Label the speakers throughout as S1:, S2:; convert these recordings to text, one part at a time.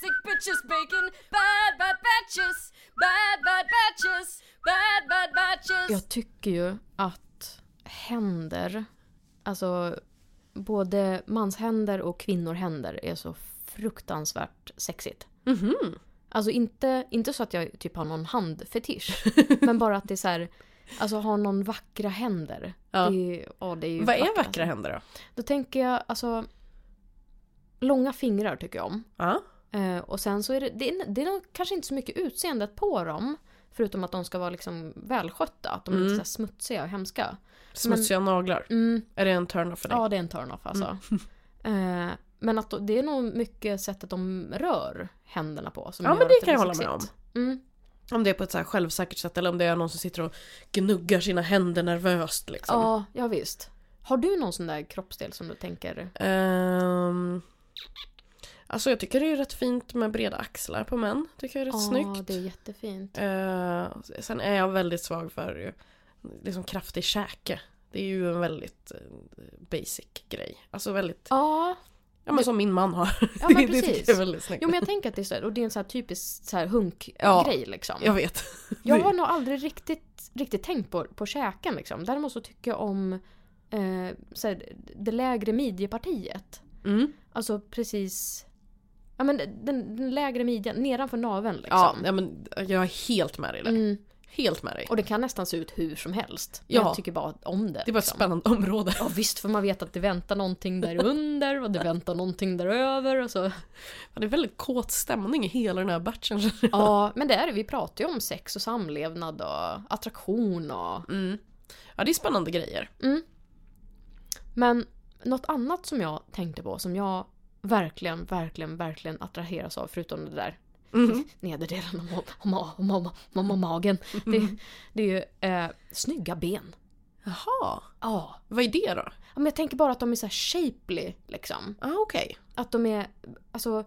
S1: sandwiches, bacon, bad bad batches, bad bad batches, bad bad batches.
S2: Jag tycker ju att händer, alltså både manshänder och kvinnorhänder är så fruktansvärt sexigt.
S1: Mhm.
S2: Alltså inte, inte så att jag typ har någon handfetisch. men bara att det är så här, alltså har någon vackra händer.
S1: Ja.
S2: Det, är- ja, det är ju
S1: Vad är
S2: vackert,
S1: vackra
S2: alltså.
S1: händer då?
S2: Då tänker jag alltså långa fingrar tycker jag om.
S1: Ja.
S2: Eh, och sen så är det, det, är, det är nog kanske inte så mycket utseendet på dem. Förutom att de ska vara liksom välskötta, att de
S1: Mm.
S2: inte är så här smutsiga och hemska.
S1: Smutsiga naglar.
S2: Mm,
S1: Är det en turn-off för dig?
S2: ja, det är en turn-off alltså.
S1: Mm.
S2: Eh, men att då, det är nog mycket sättet de rör händerna på som
S1: Ja,
S2: gör
S1: men
S2: att
S1: det kan
S2: blir
S1: jag hålla med
S2: sexigt. Mm.
S1: Om det är på ett så här självsäkert sätt eller om det är någon som sitter och gnuggar sina händer nervöst liksom.
S2: Ja, ja visst. Har du någon sån där kroppsdel som du tänker?
S1: Ehm, alltså jag tycker det är rätt fint med breda axlar på män. Tycker jag är rätt
S2: "Ah,
S1: snyggt.
S2: det är jättefint.
S1: Eh, sen är jag väldigt svag för ju liksom kraftig käke. Det är ju en väldigt eh, basic grej. Alltså väldigt,
S2: Ja,
S1: ja men som min man har.
S2: ja men
S1: det, det tycker
S2: precis.
S1: jag är väldigt snyggt.
S2: Jo men jag tänker att det är så här, och det är en så här typisk så här hunkgrej
S1: Ja,
S2: liksom.
S1: Jag vet.
S2: Jag har nog aldrig riktigt, riktigt tänkt på, på käken liksom. Däremot så tycker jag om eh, så här, det lägre midjepartiet.
S1: Mm.
S2: Alltså precis... Ja men den, den lägre midjan, nedanför naveln
S1: Ja,
S2: liksom.
S1: ja, men jag är helt med dig där.
S2: mm.
S1: Helt med dig.
S2: Och det kan nästan se ut hur som helst.
S1: Ja.
S2: Jag tycker bara om det.
S1: Det var ett
S2: liksom.
S1: spännande område.
S2: Ja visst, för man vet att det väntar någonting där under och det väntar någonting där över och så.
S1: Det är väldigt kåt stämning i hela den här batchen.
S2: Ja, men det är det. Vi pratar ju om sex och samlevnad och attraktion och...
S1: Mm. Ja, det är spännande grejer.
S2: Men något annat som jag tänkte på som jag verkligen, verkligen, verkligen attraheras av förutom det där
S1: Mm.
S2: nederdelen av ma- ma- ma- ma- ma- ma- magen. Det, det är ju eh, snygga ben.
S1: Jaha,
S2: Ja.
S1: vad är det då?
S2: Ja, Men jag tänker bara att de är så här shapely liksom.
S1: Ah, okej.
S2: Att de är, alltså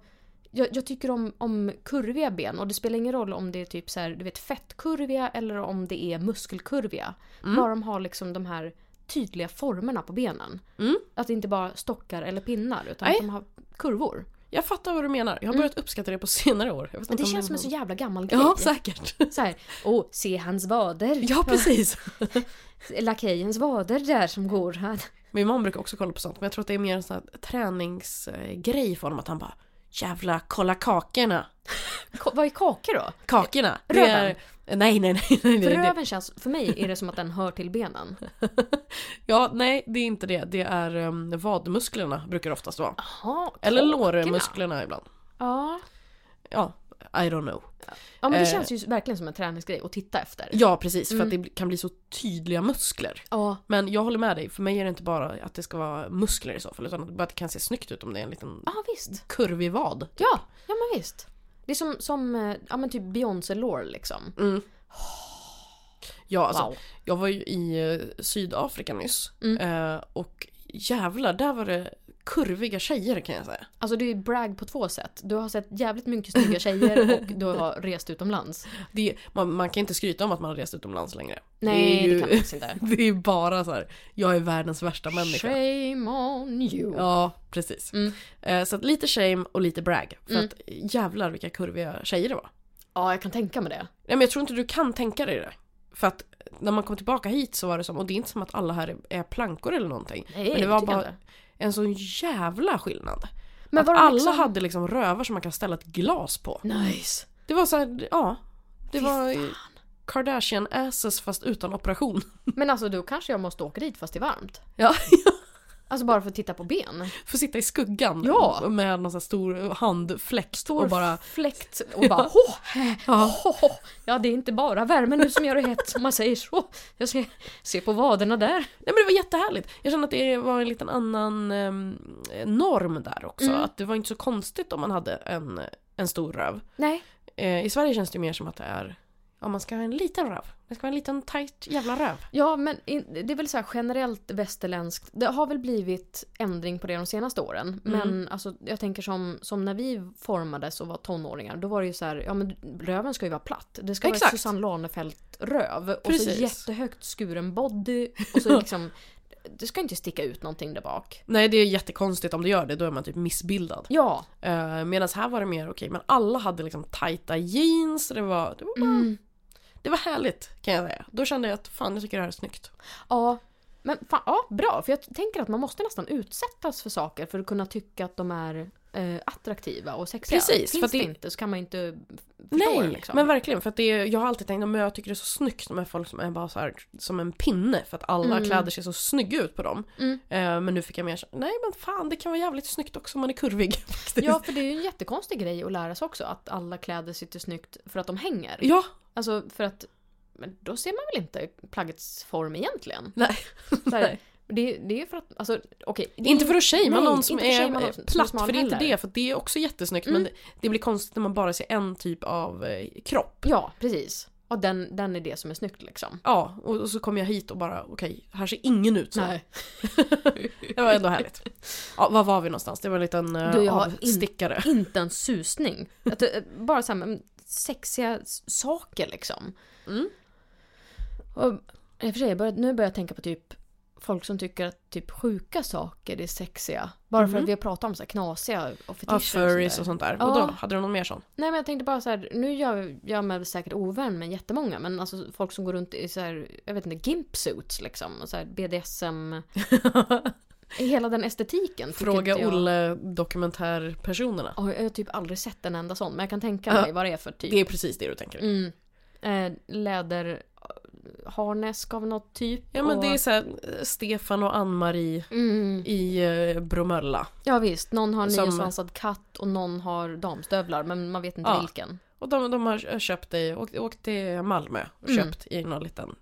S2: jag, jag tycker om, om kurviga ben och det spelar ingen roll om det är typ så här, du vet fettkurviga eller om det är muskelkurviga.
S1: Mm.
S2: Bara de har liksom de här tydliga formerna på benen.
S1: Mm.
S2: Att det inte bara stockar eller pinnar utan
S1: Nej.
S2: att de har kurvor.
S1: Jag fattar vad du menar. Jag har börjat uppskatta det på senare år. Jag vet
S2: Mm. Men
S1: inte
S2: det
S1: om
S2: känns som en
S1: var-
S2: så jävla gammal grej.
S1: Ja, säkert.
S2: Så här, åh, se hans vader.
S1: Ja, precis.
S2: Lakejens vader där som går här.
S1: Min man brukar också kolla på sånt, men jag tror att det är mer en sån här träningsgrej för honom. Att han bara “Jävla, kolla kakorna!”
S2: Ka- Vad är kakor då?
S1: Kakorna! det är- Nej, nej, nej. nej,
S2: För
S1: nej det,
S2: röven känns, för mig är det som att den hör till benen.
S1: ja, nej, det är inte det. Det är um, vadmusklerna brukar det oftast vara.
S2: Jaha,
S1: Eller
S2: kakorna.
S1: lårmusklerna ibland.
S2: Ja.
S1: Ja, I don't know.
S2: Ja men det
S1: Eh.
S2: känns ju verkligen som en träningsgrej att titta efter.
S1: Ja, precis. För att det bli- kan bli så tydliga muskler.
S2: Ja.
S1: Men jag håller med dig, för mig är det inte bara att det ska vara muskler i så fall, utan bara att det kan se snyggt ut om det är en liten
S2: Ja visst.
S1: kurvig vad.
S2: Ja, ja men visst. Det är som, som eh, ja men typ Beyoncé lore liksom.
S1: Ja, alltså,
S2: Wow.
S1: Jag var ju i eh, Sydafrika nyss
S2: Mm.
S1: eh, och jävlar, där var det kurviga tjejer kan jag säga.
S2: Alltså det är ju brag på två sätt. Du har sett jävligt mycket snygga tjejer och du har rest utomlands.
S1: Det, man, man kan inte skryta om att man har rest utomlands längre.
S2: Nej,
S1: det, är ju,
S2: det kan man faktiskt inte.
S1: det är bara så här, jag är världens värsta människa.
S2: Shame Mm. on you.
S1: Ja, precis. Eh, så att lite shame och lite brag.
S2: Mm.
S1: För att jävlar vilka kurviga tjejer det var.
S2: Ja, jag kan tänka mig det.
S1: Nej men jag tror inte du kan tänka dig det. För att när man kom tillbaka hit så var det som, och det är inte som att alla här är- är plankor eller någonting.
S2: Nej,
S1: men det
S2: det
S1: var
S2: tycker jag
S1: bara
S2: inte.
S1: en sån jävla skillnad.
S2: Men
S1: att
S2: var det
S1: alla
S2: liksom-
S1: hade liksom rövar som man kan ställa ett glas på.
S2: Nice.
S1: Det var så här, ja. Det
S2: Fy
S1: var Kardashian asses fast utan operation.
S2: Men alltså då kanske jag måste åka dit fast det är varmt.
S1: Ja.
S2: Alltså bara för att titta på ben.
S1: Får sitta i skuggan
S2: Ja.
S1: med någon sån här stor handfläkt och bara
S2: fläkt och bara "Hå, hä, hå, hå." Ja, det är inte bara värmen nu som gör det hett om man säger så. Jag ser, ser på vaderna där.
S1: Nej men det var jättehärligt. Jag kände att det var en liten annan ehm, norm där också.
S2: Mm.
S1: Att det var inte så konstigt om man hade en, en stor röv.
S2: Nej.
S1: Eh, I Sverige känns det mer som att det är, ja man ska ha en liten röv. Det ska vara en liten tight jävla röv.
S2: Ja, men in- det är väl så här generellt västerländskt. Det har väl blivit ändring på det de senaste åren. Men alltså, jag tänker som, som när vi formades och var tonåringar. Då var det ju så här, ja men röven ska ju vara platt. Det ska
S1: Exakt.
S2: vara Susanne Lanefelt-röv. Och så
S1: Precis.
S2: jättehögt skuren body. Och så liksom det ska inte sticka ut någonting där bak.
S1: Nej det är jättekonstigt om det gör det, då är man typ missbildad.
S2: Ja.
S1: Uh, Medan här var det mer okej, men alla hade liksom tajta jeans, det var, det, var,
S2: Mm.
S1: det var härligt kan jag säga. Då kände jag att fan jag tycker det här är snyggt.
S2: Ja. Men fan, ja, bra. För jag t- tänker att man måste nästan utsättas för saker för att kunna tycka att de är eh, attraktiva och sexiga.
S1: Precis,
S2: Finns
S1: för
S2: för
S1: att
S2: det
S1: det-
S2: inte så kan man ju inte f- förstå
S1: Nej,
S2: det, liksom.
S1: men verkligen. För att det är, jag har alltid tänkt att jag tycker det är så snyggt med folk som är bara så här, som en pinne. För att alla
S2: Mm.
S1: kläder ser så snygga ut på dem.
S2: Mm.
S1: Eh, men nu fick jag mer så- nej men fan det kan vara jävligt snyggt också om man är kurvig. faktiskt.
S2: Ja, för det är ju en jättekonstig grej att lära sig också. Att alla kläder sitter snyggt för att de hänger.
S1: ja,
S2: Alltså för att men då ser man väl inte plaggets form egentligen?
S1: Nej.
S2: Så här, det, det är för att, alltså okej. det är
S1: inte för att shamea
S2: nej,
S1: någon som
S2: inte för att
S1: är
S2: shamea någon
S1: eh,
S2: som- som är
S1: platt
S2: smal
S1: för det är inte
S2: heller.
S1: det. För det är också jättesnyggt
S2: Mm.
S1: men det, det blir konstigt när man bara ser en typ av eh, kropp.
S2: Ja, precis. Och den, den är det som är snyggt liksom.
S1: Ja, och, och så kom jag hit och bara okej, här ser ingen ut så.
S2: Nej.
S1: Det var ändå härligt. Ja, var var vi någonstans? Det var en liten eh,
S2: Du, jag har in-
S1: avstickare.
S2: Inte en susning. Att, eh, bara så här, men, sexiga s- saker liksom.
S1: Mm.
S2: Och, i och för sig, jag börjar, nu börjar jag tänka på typ folk som tycker att typ sjuka saker är sexiga. Bara för
S1: Mhm.
S2: att vi har pratat om så här knasiga och fetischer.
S1: Ja,
S2: och sånt
S1: furries
S2: där.
S1: och sånt där.
S2: Ja.
S1: Och då hade du någon mer sån?
S2: Nej men jag tänkte bara så här, nu gör jag mig säkert ovän med jättemånga men alltså folk som går runt i så här, jag vet inte, gimpsuits liksom och så här BDSM. Hela den estetiken. tycker
S1: Fråga
S2: inte jag-
S1: Olle dokumentärpersonerna.
S2: Ja, jag har typ aldrig sett en enda sån men jag kan tänka
S1: Ja.
S2: mig vad det är för typ.
S1: Det är precis det du tänker.
S2: Mm. Eh, läderharnesk av något typ.
S1: Ja men
S2: och...
S1: det är såhär eh, Stefan och Ann-Marie
S2: Mm.
S1: i eh, Bromölla.
S2: Ja visst, någon har
S1: Som-
S2: niosvansad katt och någon har damstövlar men man vet inte
S1: Ja.
S2: vilken.
S1: Och de, de har eh, köpt i, åkt, åkt till Malmö och
S2: Mm.
S1: köpt i någon liten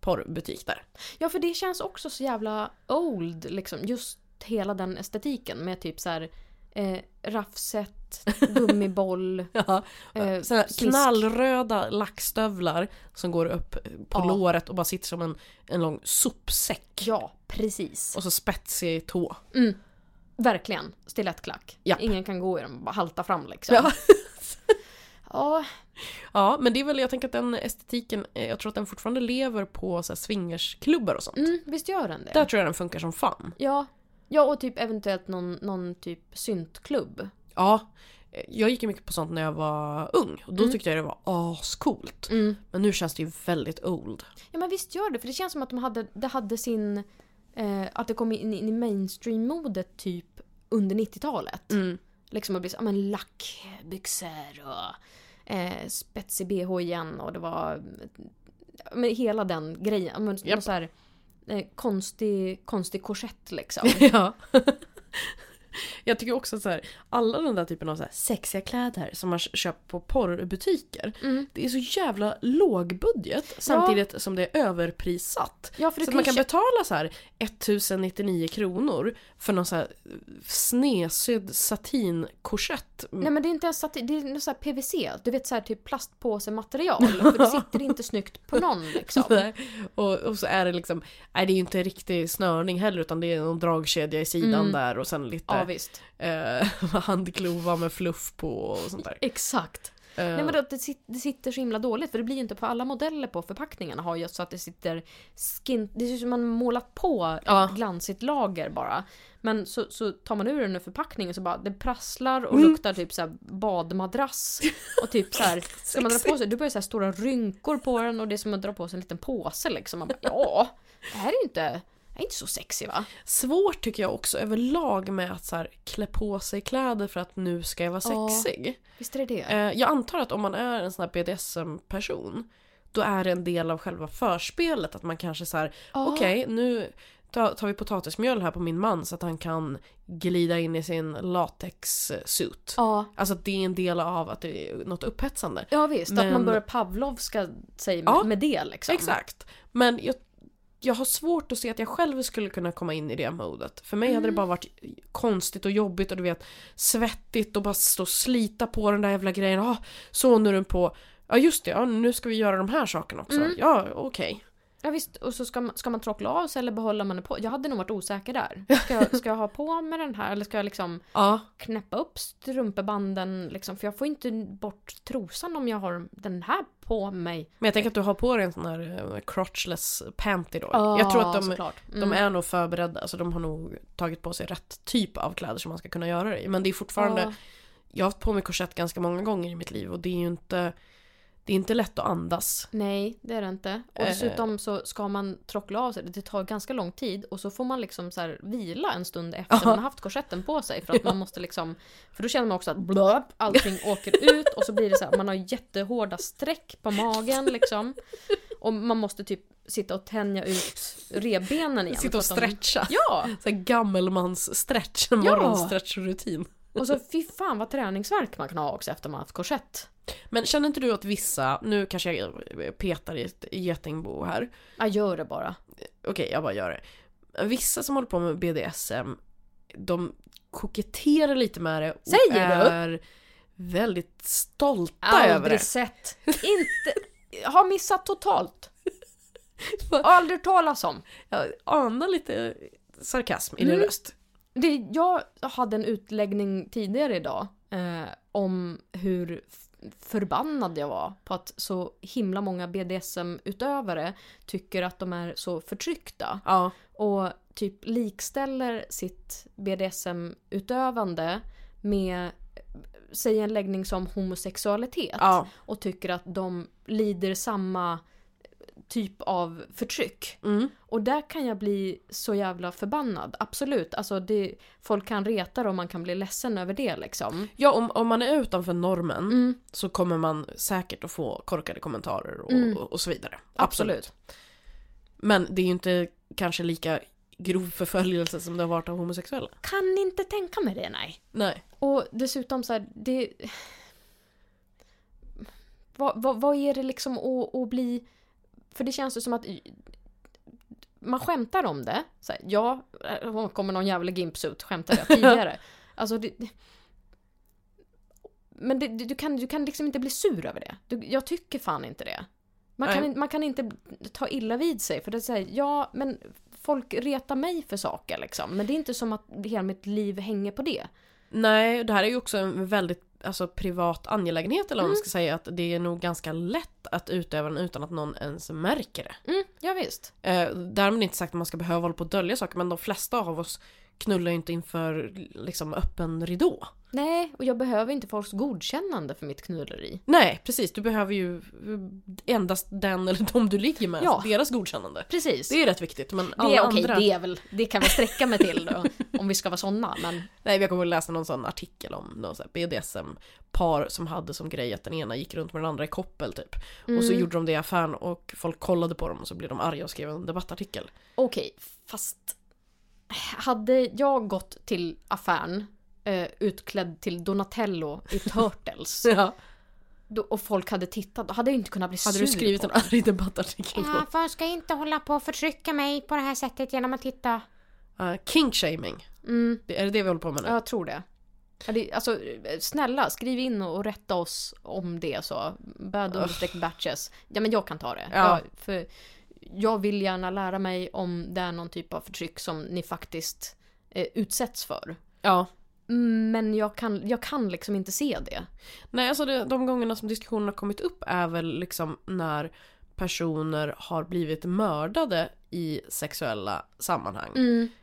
S1: porrbutik där.
S2: Ja för det känns också så jävla old liksom. Just hela den estetiken med typ så här eh, raffset, gummiboll,
S1: Ja.
S2: eh,
S1: Såna
S2: slisk.
S1: knallröda lackstövlar som går upp på
S2: Ja.
S1: låret och bara sitter som en, en lång sopsäck.
S2: Ja, precis.
S1: Och så spetsig tå.
S2: Mm. Verkligen. Stilettklack.
S1: Japp.
S2: Ingen kan gå i dem, bara halta fram liksom.
S1: Ja.
S2: ja.
S1: Ja men det är väl, jag tänker att den estetiken, eh, jag tror att den fortfarande lever på så här swingersklubbar och sånt.
S2: Mm, visst gör den det?
S1: Där tror jag den funkar som fan.
S2: Ja. Ja, och typ eventuellt någon, någon typ syntklubb.
S1: Ja, eh, jag gick ju mycket på sånt när jag var ung och då
S2: Mm.
S1: tyckte jag det var ascoolt.
S2: Mm.
S1: Men nu känns det ju väldigt old.
S2: Ja, men visst gör det. För det känns som att de hade, det hade sin... Eh, att det kom in, in i mainstream-modet typ under
S1: Mm.
S2: 90-talet. Liksom att bli så, ja, men lackbyxor och eh, spetsig bh igen och det var... ja, Men hela den grejen. Ja, Men,
S1: Japp.
S2: någon så här, eh, konstig, konstig korsett liksom.
S1: Ja. jag tycker också att så här, alla den där typen av så här sexiga kläder som man köper på porrbutiker.
S2: Mm.
S1: Det är så jävla lågbudget samtidigt som det är överprissatt.
S2: Ja, för du
S1: så att
S2: kan
S1: man
S2: ju
S1: kan
S2: kö-
S1: betala så här 1099 kronor för någon så här snesydd satinkorsett.
S2: Nej men det är inte ens satin, det är något så här PVC. Du vet så här typ plastpåsematerial. för det sitter inte snyggt på någon liksom.
S1: Nej. Mm. Och, och så är det liksom, nej det är ju inte en riktig snörning heller utan det är någon dragkedja i sidan
S2: Mm.
S1: där och sen
S2: Ja
S1: lite
S2: visst.
S1: eh, handklova med fluff på och sånt där.
S2: Exakt.
S1: Eh,
S2: Nej men att det, sit, det sitter så himla dåligt för det blir ju inte på alla modeller på förpackningarna har ju så att det sitter skin... Det ser ut som man målat på
S1: Ja.
S2: ett glansigt lager bara. Men så, så tar man ur den ur förpackningen så bara det prasslar och
S1: Mm.
S2: luktar typ så här badmadrass. Och typ så här, ska man dra på sig, du börjar så här stora rynkor på den och det är som att dra på sig en liten påse liksom. Man bara, ja, det här är ju inte, det här är inte så sexy va?
S1: Svårt tycker jag också överlag med att så här, klä på sig kläder för att nu ska jag vara
S2: Ja.
S1: sexig.
S2: Visst är det det?
S1: Eh, jag antar att om man är en sån här BDSM-person då är det en del av själva förspelet att man kanske så här,
S2: Ja.
S1: okej nu ta- tar vi potatismjöl här på min man så att han kan glida in i sin latex-suit.
S2: Ja.
S1: Alltså att det är en del av att det är något upphetsande.
S2: Ja visst, att man
S1: Men-
S2: börjar Pavlovska sig
S1: Ja,
S2: med, med det liksom.
S1: Exakt. Men jag, jag har svårt att se att jag själv skulle kunna komma in i det modet. För mig
S2: Mm.
S1: hade det bara varit konstigt och jobbigt och du vet svettigt och bara stå och slita på den där jävla grejen.
S2: Mm.
S1: Ah, så nu är den på. Ja just det, ja, nu ska vi göra de här sakerna också. Ja okej.
S2: Ja visst, och så ska man, ska man trockla av sig eller behåller man det på? Jag hade nog varit osäker där. Ska jag, ska jag ha på mig den här eller ska jag liksom
S1: Ja,
S2: knäppa upp strumpebanden liksom? För jag får inte bort trosan om jag har den här på mig.
S1: men jag tänker att du har på dig en sån här eh, crotchless panty då.
S2: Ja,
S1: jag tror att de,
S2: såklart. Mm.
S1: de är nog förberedda, alltså de har nog tagit på sig rätt typ av kläder som man ska kunna göra det i. Men det är fortfarande,
S2: Ja.
S1: jag har haft på mig korsett ganska många gånger i mitt liv och det är ju inte, det är inte lätt att andas.
S2: Nej, det är det inte. Och
S1: Eh.
S2: dessutom så ska man trockla av sig. Det tar ganska lång tid och så får man liksom så här vila en stund efter
S1: Ja.
S2: man har haft korsetten på sig. För att man måste liksom... För då känner man också att blöp, allting åker ut och så blir det så här, man har jättehårda streck på magen liksom. Och man måste typ sitta och tänja ut revbenen igen.
S1: Sitta och
S2: för att de-
S1: stretcha.
S2: Ja!
S1: Så här gammelmans-stretch, en
S2: Ja.
S1: morgonstretchrutin.
S2: Och så fy fan vad träningsvärk man kan ha också efter man har haft korsett.
S1: Men känner inte du att vissa, nu kanske jag eh, petar i ett getingbo här,
S2: Ja, gör det bara.
S1: Okej, jag bara gör det. Vissa som håller på med BDSM, de koketterar lite med det och
S2: Säger du?
S1: är väldigt stolta över det.
S2: Aldrig sett. Inte... Har missat totalt. Aldrig talas om.
S1: Jag anar lite sarkasm i din
S2: Mm.
S1: röst.
S2: Det, jag hade en utläggning tidigare idag eh, om hur f- förbannad jag var på att så himla många BDSM-utövare tycker att de är så förtryckta
S1: Ja.
S2: och typ likställer sitt BDSM-utövande med eh, säg en läggning som homosexualitet
S1: ja.
S2: och tycker att de lider samma typ av förtryck.
S1: Mm.
S2: Och där kan jag bli så jävla förbannad. Absolut, alltså det, folk kan reta det och man kan bli ledsen över det liksom.
S1: ja om, om man är utanför normen
S2: Mm,
S1: så kommer man säkert att få korkade kommentarer och,
S2: Mm.
S1: och, och så vidare.
S2: absolut.
S1: Men det är ju inte kanske lika grov förföljelse som det har varit av homosexuella.
S2: Kan inte tänka mig det, nej.
S1: Nej.
S2: Och dessutom så här, det... Vad, vad, vad är det liksom att, att bli... För det känns ju som att man skämtar om det. Så här, ja, här kommer någon jävla gimpsuit, skämtade jag tidigare. alltså det... det- Men det, du, kan, du kan liksom inte bli sur över det. Du, jag tycker fan inte det. Man kan,
S1: Nej.
S2: in- man kan inte ta illa vid sig för det är så här, ja men folk retar mig för saker liksom. Men det är inte som att hela mitt liv hänger på det.
S1: Nej, det här är ju också en väldigt alltså, privat angelägenhet eller vad man
S2: Mm.
S1: ska säga. Att det är nog ganska lätt att utöva den utan att någon ens märker det.
S2: Mm, ja visst.
S1: Eh, därmed inte sagt att man ska behöva hålla på och dölja saker men de flesta av oss knullar ju inte inför liksom, öppen ridå.
S2: Nej, och jag behöver inte folks godkännande för mitt knulleri.
S1: Nej, precis. Du behöver ju eh, endast den eller de du ligger med, alltså,
S2: Ja.
S1: deras godkännande.
S2: Precis.
S1: Det är rätt viktigt men alla
S2: det, är- okej,
S1: andra...
S2: det är väl, det kan jag sträcka mig till då, om vi ska vara såna. Men
S1: Nej, jag kommer att läsa någon sån artikel om någon sån här BDSM-par som hade som grej att den ena gick runt med den andra i koppel typ. Och så gjorde de det i affären och folk kollade på dem och så blev de arga och skrev en debattartikel.
S2: okej, fast hade jag gått till affären eh, utklädd till Donatello i Turtles
S1: Ja.
S2: då, och folk hade tittat, då hade jag inte kunnat bli
S1: Hade
S2: sur
S1: du skrivit
S2: på
S1: en arg debattartikel då?
S2: folk ska inte hålla på och förtrycka mig på det här sättet genom att titta.
S1: Uh, Kinkshaming,
S2: Mm,
S1: Det- är det det vi håller på med nu?
S2: ja, jag tror det. Ja, det- Alltså snälla, skriv in och och rätta oss om det så. Bad understreck batches. Ja men jag kan ta det.
S1: Ja.
S2: Jag, för jag vill gärna lära mig om det är någon typ av förtryck som ni faktiskt eh, utsätts för. Mm,
S1: Ja.
S2: Men jag kan, jag kan liksom inte se det.
S1: Nej, alltså det, de gångerna som diskussionen har kommit upp är väl liksom när personer har blivit mördade i sexuella sammanhang.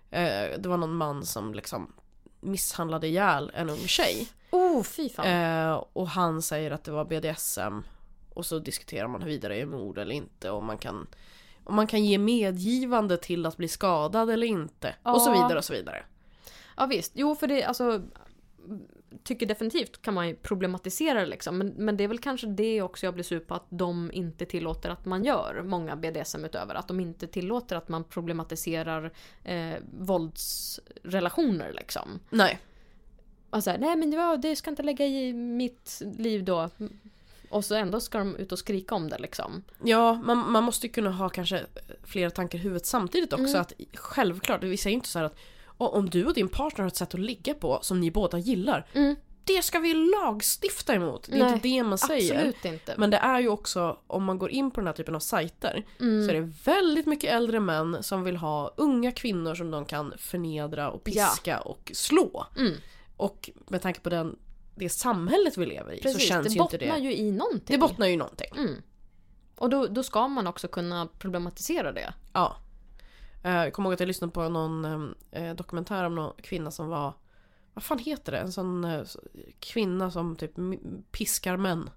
S1: Eh, det var någon man som liksom misshandlade ihjäl en ung tjej.
S2: Oh, fy fan.
S1: Eh, och han säger att det var BDSM. Och så diskuterar man huruvida det är mord eller inte. Och man kan, om man kan ge medgivande till att bli skadad eller inte. Och så
S2: Ja.
S1: vidare och så vidare.
S2: Ja visst, jo för det alltså Tycker definitivt kan man ju problematisera det liksom. Men, men det är väl kanske det också jag blir sur på att de inte tillåter att man gör. Många BDSM utöver Att de inte tillåter att man problematiserar eh, våldsrelationer liksom.
S1: Nej.
S2: Alltså, nej men ja, det ska inte lägga i mitt liv då. Och så ändå ska de ut och skrika om det liksom.
S1: Ja, man, man måste ju kunna ha kanske flera tankar i huvudet samtidigt också.
S2: Mm.
S1: Att självklart, vi säger ju inte så här att "Åh, om du och din partner har ett sätt att ligga på som ni båda gillar. det ska vi lagstifta emot. Det är
S2: Nej,
S1: inte det man säger.
S2: Absolut inte.
S1: Men det är ju också, om man går in på den här typen av sajter,
S2: Mm.
S1: så är det väldigt mycket äldre män som vill ha unga kvinnor som de kan förnedra och piska och slå.
S2: Mm.
S1: Och med tanke på den, det samhället vi lever i
S2: Mm. Precis,
S1: så känns
S2: det
S1: ju inte
S2: bottnar
S1: det.
S2: ju i någonting.
S1: Det bottnar ju i någonting.
S2: mm. Och då, då ska man också kunna problematisera det.
S1: Ja. Eh, Jag kommer ihåg att jag lyssnade på någon eh, dokumentär om någon kvinna som var, vad fan heter det? En sån eh, s- kvinna som typ m- piskar män.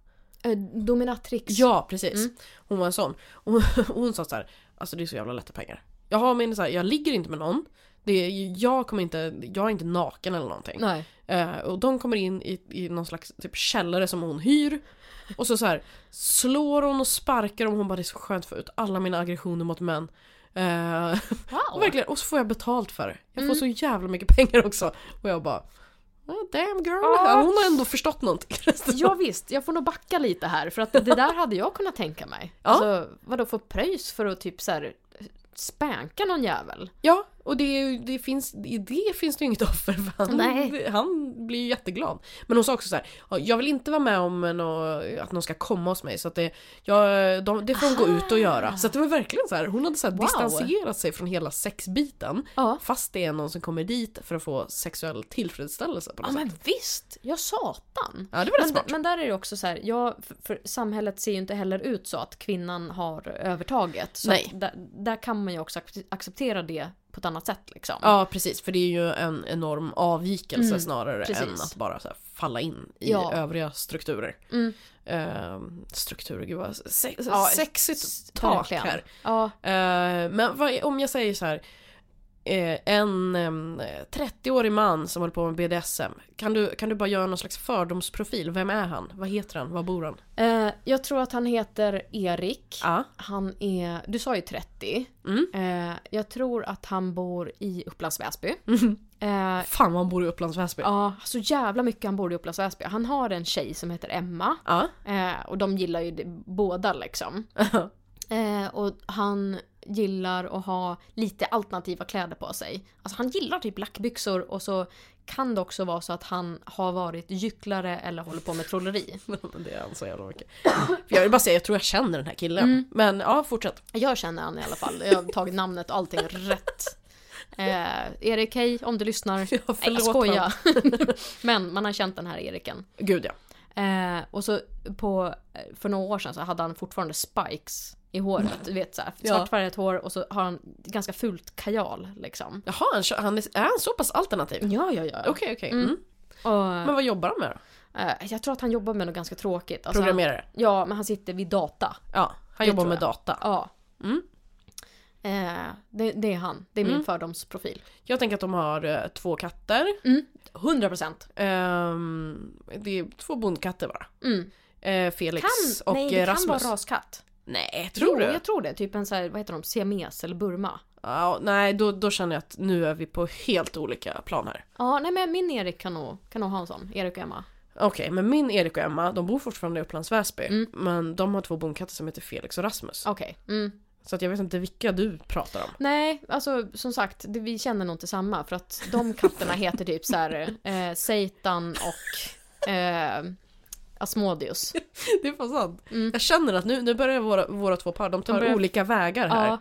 S2: Eh, Dominatrix.
S1: Ja, precis.
S2: Mm.
S1: Hon var en sån. Och hon, hon sa så här, alltså det är så jävla lätta pengar. Jag har min så här, jag ligger inte med någon. Det är, ju- jag kommer inte, jag är inte naken eller någonting.
S2: Nej.
S1: Eh, och de kommer in i, i någon slags typ källare som hon hyr. Och så, så här, slår hon och sparkar och hon bara det är så skönt för ut alla mina aggressioner mot män. Eh, och,
S2: Wow.
S1: verkligen, och så får jag betalt för det. Jag
S2: Mm.
S1: får så jävla mycket pengar också. Och jag bara "Ah, Damn girl,
S2: Ah.
S1: hon har ändå förstått någonting.
S2: Ja, visst, jag får nog backa lite här för att det där hade jag kunnat tänka mig.
S1: Ja.
S2: Alltså, vadå få pröjs för att typ så här spänka någon jävel?
S1: Ja, och det, är ju- det finns, i det finns det ju inget offer för han,
S2: Nej.
S1: han blir ju jätteglad. Men hon sa också så här, "Ja, jag vill inte vara med om nå, att någon ska komma hos mig så att det, jag, de, det får de gå ut och göra. Så att det var verkligen så här, hon hade så här
S2: Wow.
S1: distanserat sig från hela sexbiten.
S2: Ja.
S1: Fast det är någon som kommer dit för att få sexuell tillfredsställelse på något
S2: Ja
S1: sätt.
S2: men visst! Ja satan!
S1: Ja det var rätt
S2: Men,
S1: smart.
S2: men där är det också så här, ja, för, för samhället ser ju inte heller ut så att kvinnan har övertaget. Så
S1: Nej.
S2: Att där, där kan man ju också ac- acceptera det på ett annat sätt liksom.
S1: Ja precis, för det är ju en enorm avvikelse
S2: Mm,
S1: snarare än
S2: precis.
S1: att bara så här, falla in i
S2: Ja.
S1: övriga strukturer.
S2: Mm.
S1: Ehm, strukturer, gud vad se-
S2: Ja,
S1: sexigt tak
S2: verkligen.
S1: här.
S2: Ja,
S1: Eh, men vad, om jag säger så här. eh, en em, 30-årig man som håller på med BDSM. Kan du, kan du bara göra någon slags fördomsprofil? Vem är han? Vad heter han? Var bor han?
S2: eh, jag tror att han heter Erik.
S1: Ja.
S2: Han är, du sa ju 30.
S1: Mm.
S2: Eh, jag tror att han bor i Upplands Väsby. Eh,
S1: Fan vad han bor i Upplands Väsby.
S2: ja, så jävla mycket han bor i Upplands Väsby. Han har en tjej som heter Emma.
S1: Ja.
S2: Eh, och de gillar ju det, båda liksom. Eh, och han gillar att ha lite alternativa kläder på sig. Alltså han gillar typ lackbyxor och så kan det också vara så att han har varit gycklare eller håller på med trolleri.
S1: det är han så jävla mycket. För jag vill bara säga, jag tror jag känner den här killen.
S2: Mm.
S1: Men ja, fortsätt.
S2: Jag känner han i alla fall. Jag har tagit namnet och allting rätt. Eh, Erik, hej om du lyssnar.
S1: Ja,
S2: Nej, jag
S1: förlåt,
S2: skojar. Men man har känt den här Eriken.
S1: Gud ja.
S2: Eh, och så på, för några år sedan så hade han fortfarande spikes i håret. Du vet såhär,
S1: Ja.
S2: svartfärgat hår och så har han ganska fult kajal liksom.
S1: Jaha, han, kö- han är, är han så pass alternativ? Okej,
S2: Ja, ja, ja.
S1: okej. Mm. Men vad jobbar han med då?
S2: eh, jag tror att han jobbar med något ganska tråkigt. Alltså, han,
S1: Programmerare?
S2: ja, men han sitter vid data.
S1: Ja, han
S2: det
S1: jobbar
S2: tror
S1: med
S2: jag.
S1: data.
S2: Ja.
S1: Mm.
S2: Eh, det, det är han. Det är min fördomsprofil.
S1: Jag tänker att de har eh, två katter.
S2: 100%.
S1: Ehm, det är två bondkatter bara.
S2: Mm.
S1: Eh, Felix
S2: Kan,
S1: och
S2: nej,
S1: eh,
S2: det kan
S1: Rasmus.
S2: vara raskatt.
S1: Nej, tror du?
S2: Jo, jag tror det. Typ en så här, vad heter de, siames eller burma.
S1: Ja, nej, då, då känner jag att nu är vi på helt olika plan här.
S2: Ja, nej men min Erik kan nog, kan nog ha en sån. Erik och Emma.
S1: Okej, men min Erik och Emma, de bor fortfarande i Upplands Väsby.
S2: Mm.
S1: Men de har två bondkatter som heter Felix och Rasmus.
S2: Okej. Mm.
S1: Så att jag vet inte vilka du pratar om.
S2: Nej, alltså som sagt, det, vi känner nog inte samma för att de katterna heter typ så här eh, Satan och eh, Asmodeus.
S1: Det är fan sant.
S2: Mm.
S1: Jag känner att nu, nu börjar våra, våra två par, de tar
S2: börjar-
S1: olika vägar här.
S2: Ja.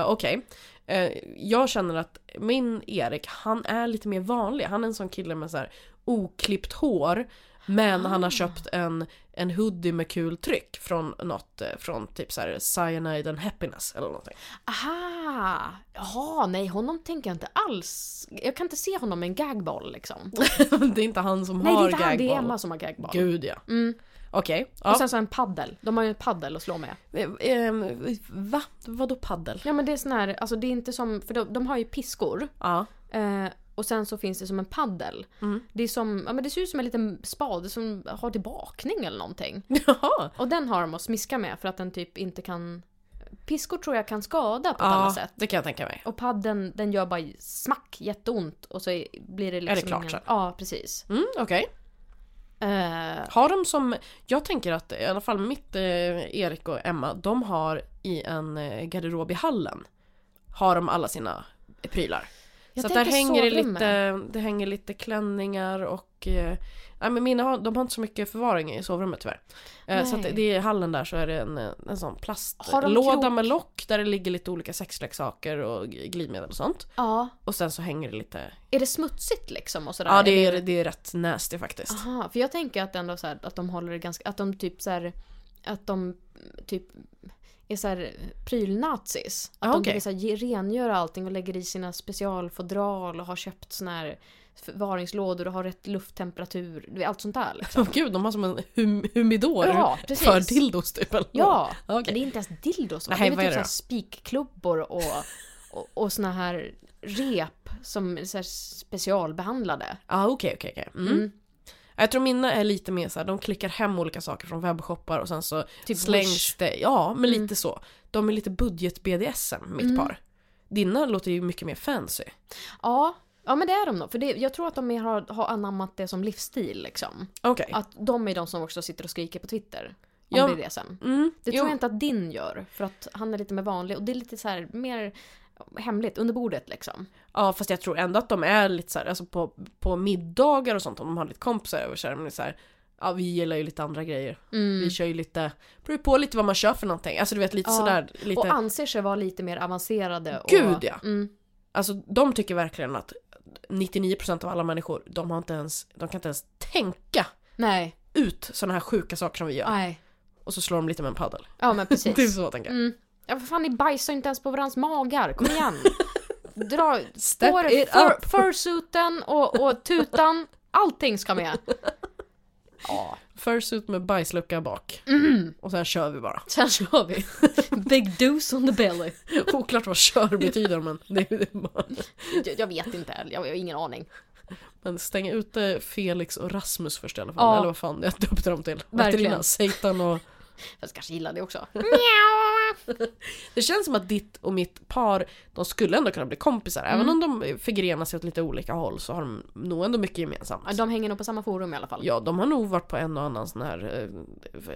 S1: Eh, Okej. Eh, jag känner att min Erik, han är lite mer vanlig. Han är en sån kille med så här oklippt hår. Men han har
S2: Ah.
S1: köpt en, en hoodie med kul tryck från något, eh, från typ så här Cyanide and Happiness eller någonting.
S2: Aha! Jaha, nej honom tänker jag inte alls. Jag kan inte se honom med en gagboll liksom.
S1: det är inte han som
S2: Nej det
S1: har
S2: är inte han, det är
S1: gagboll.
S2: Emma som har gagboll.
S1: Gud ja.
S2: Mm.
S1: Okej.
S2: Och
S1: Ja.
S2: sen så en paddel. De har ju en paddel att slå med.
S1: Eh, eh, va? Vadå paddel?
S2: Ja men det är sån här, alltså det är inte som, för de, de har ju piskor.
S1: Ja.
S2: Eh, och sen så finns det som en paddel.
S1: Mm.
S2: Det är som, ja men det ser ut som en liten spade som har till bakning eller någonting.
S1: Jaha.
S2: Och den har de att smiska med för att den typ inte kan... Piskor tror jag kan skada på ett
S1: Ja,
S2: annat sätt.
S1: det kan jag tänka mig.
S2: Och padden den gör bara smack jätteont och så är- blir det liksom
S1: Är det klart
S2: ingen...
S1: sen?
S2: Ja precis.
S1: Mm, okej.
S2: Eh,
S1: Har de som, jag tänker att i alla fall mitt eh, Erik och Emma, de har i en eh, garderob i hallen, har de alla sina prylar.
S2: Jag
S1: så att där
S2: tänker
S1: hänger det,
S2: sovrummet.
S1: lite, det hänger lite klänningar och... Eh, nej men mina har, de har inte så mycket förvaring i sovrummet tyvärr. Eh, så att
S2: Nej.
S1: det är i hallen där så är det en, eh, en sån
S2: Har de
S1: plastlåda
S2: krok?
S1: med lock där det ligger lite olika sexleksaker och g- glidmedel och sånt.
S2: Ja.
S1: Och sen så hänger det lite...
S2: Är det smutsigt liksom och sådär?
S1: Ja det
S2: Eller-
S1: är, det är rätt nasty faktiskt.
S2: Aha, för jag tänker att ändå så här, att de håller det ganska, att de typ så här, att de typ är så här prylnazis. Att
S1: Ah,
S2: de
S1: okej.
S2: typ så här, ge- rengör allting och lägger i sina specialfodral och har köpt såna här förvaringslådor och har rätt lufttemperatur. Du vet, Allt sånt där. liksom.
S1: Åh gud, de har som en hum- humidor
S2: Ja, precis.
S1: för dildos typ. eller vad?
S2: Ja,
S1: Okej.
S2: men det är inte ens dildos. va?
S1: Nej,
S2: det är
S1: vad är
S2: väl typ
S1: det
S2: så här
S1: då?
S2: spikklubbor och, och, och såna här rep som är så här specialbehandlade.
S1: Ja okej okej okej. Mm.
S2: Mm.
S1: Jag tror mina är lite mer såhär, de klickar hem olika saker från webbshoppar och sen så
S2: Typ
S1: slängs
S2: Wish.
S1: det. Ja men
S2: Mm.
S1: lite så. De är lite budget-BDSM mitt
S2: Mm.
S1: par. Dina låter ju mycket mer fancy.
S2: Ja, ja men det är de nog. För det, jag tror att de mer har, har anammat det som livsstil liksom.
S1: Okej.
S2: Att de är de som också sitter och skriker på Twitter. Om
S1: Ja,
S2: BDSM.
S1: Mm,
S2: Det
S1: jo.
S2: tror jag inte att din gör. För att han är lite mer vanlig och det är lite så här mer hemligt under bordet liksom.
S1: Ja fast jag tror ändå att de är lite såhär, alltså på, på middagar och sånt om de har lite kompisar över så är de lite såhär Ja vi gillar ju lite andra grejer. Vi kör ju lite, beror ju på lite vad man kör för någonting. Alltså du vet lite
S2: Mm. Ja.
S1: sådär lite
S2: Och anser sig vara lite mer avancerade. Och,
S1: Gud, ja.
S2: Mm,
S1: Alltså de tycker verkligen att 99% av alla människor, de, har inte ens, de kan inte ens tänka
S2: nej,
S1: ut sådana här sjuka saker som vi gör.
S2: nej.
S1: Och så slår de lite med en padel.
S2: Ja men precis.
S1: Typ så tänker jag.
S2: Mm. Ja för fan ni bajsar ju inte ens på varandras magar, kom igen! Dra
S1: Step
S2: på dig
S1: it
S2: fur-
S1: up.
S2: fursuiten och, och tutan, allting ska med! Ja.
S1: Fursuit med bajslucka bak.
S2: Mm.
S1: Och sen kör vi bara.
S2: Sen kör vi! Big deuce on the belly.
S1: Oklart vad kör betyder men, det är det bara.
S2: Jag, jag vet inte, jag, jag har ingen aning.
S1: men stäng ute Felix och Rasmus först i alla fall.
S2: Ja.
S1: Eller vad fan jag döpte dem till.
S2: Verkligen.
S1: Verkligen. Satan och...
S2: Fast kanske gillar det också.
S1: Det känns som att ditt och mitt par, de skulle ändå kunna bli kompisar. Även
S2: Mm.
S1: om de förgrenar sig åt lite olika håll så har de nog ändå mycket gemensamt.
S2: Ja, De hänger nog på samma forum i alla fall.
S1: Ja, de har nog varit på en och annan sån här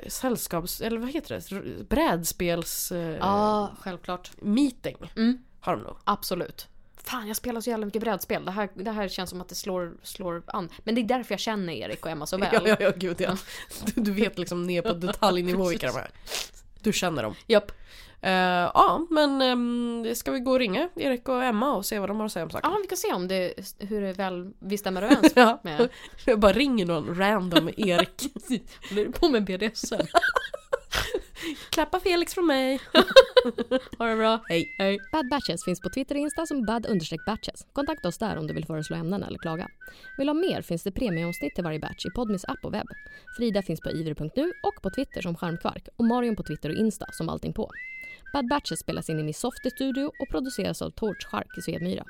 S1: eh, sällskaps... Eller vad heter det? R- Brädspels... Eh,
S2: Ja, självklart.
S1: Meeting
S2: Mm.
S1: har de nog.
S2: Absolut. Fan, jag spelar så jävla mycket brädspel. Det här, det här känns som att det slår, slår an. Men det är därför jag känner Erik och Emma så väl.
S1: Ja, ja, ja, gud ja. Du, du vet liksom ner på detaljnivå vilka de är. Du känner dem.
S2: Japp.
S1: Eh, ja, men ehm, ska vi gå och ringa Erik och Emma och se vad de har att säga om saken?
S2: Ja, vi kan se om det, hur det väl vi stämmer överens.
S1: Ja,
S2: Men-
S1: jag bara ringer någon random Erik.
S2: Håller du på med BDSM?
S1: Klappa Felix från mig.
S2: Ha det bra.
S1: Hej.
S2: Hej.
S3: Bad Batches finns på Twitter och Insta som bad-batches. Kontakta oss där om du vill föreslå ämnen eller klaga. Vill du ha mer finns det premieomsnitt till varje batch i Podmis app och webb. Frida finns på ivr.nu och på Twitter som Charmkvark och Marion på Twitter och Insta som allting på. Bad Batches spelas in i Miss Softy Studio och produceras av Torch Shark i Svedmyra.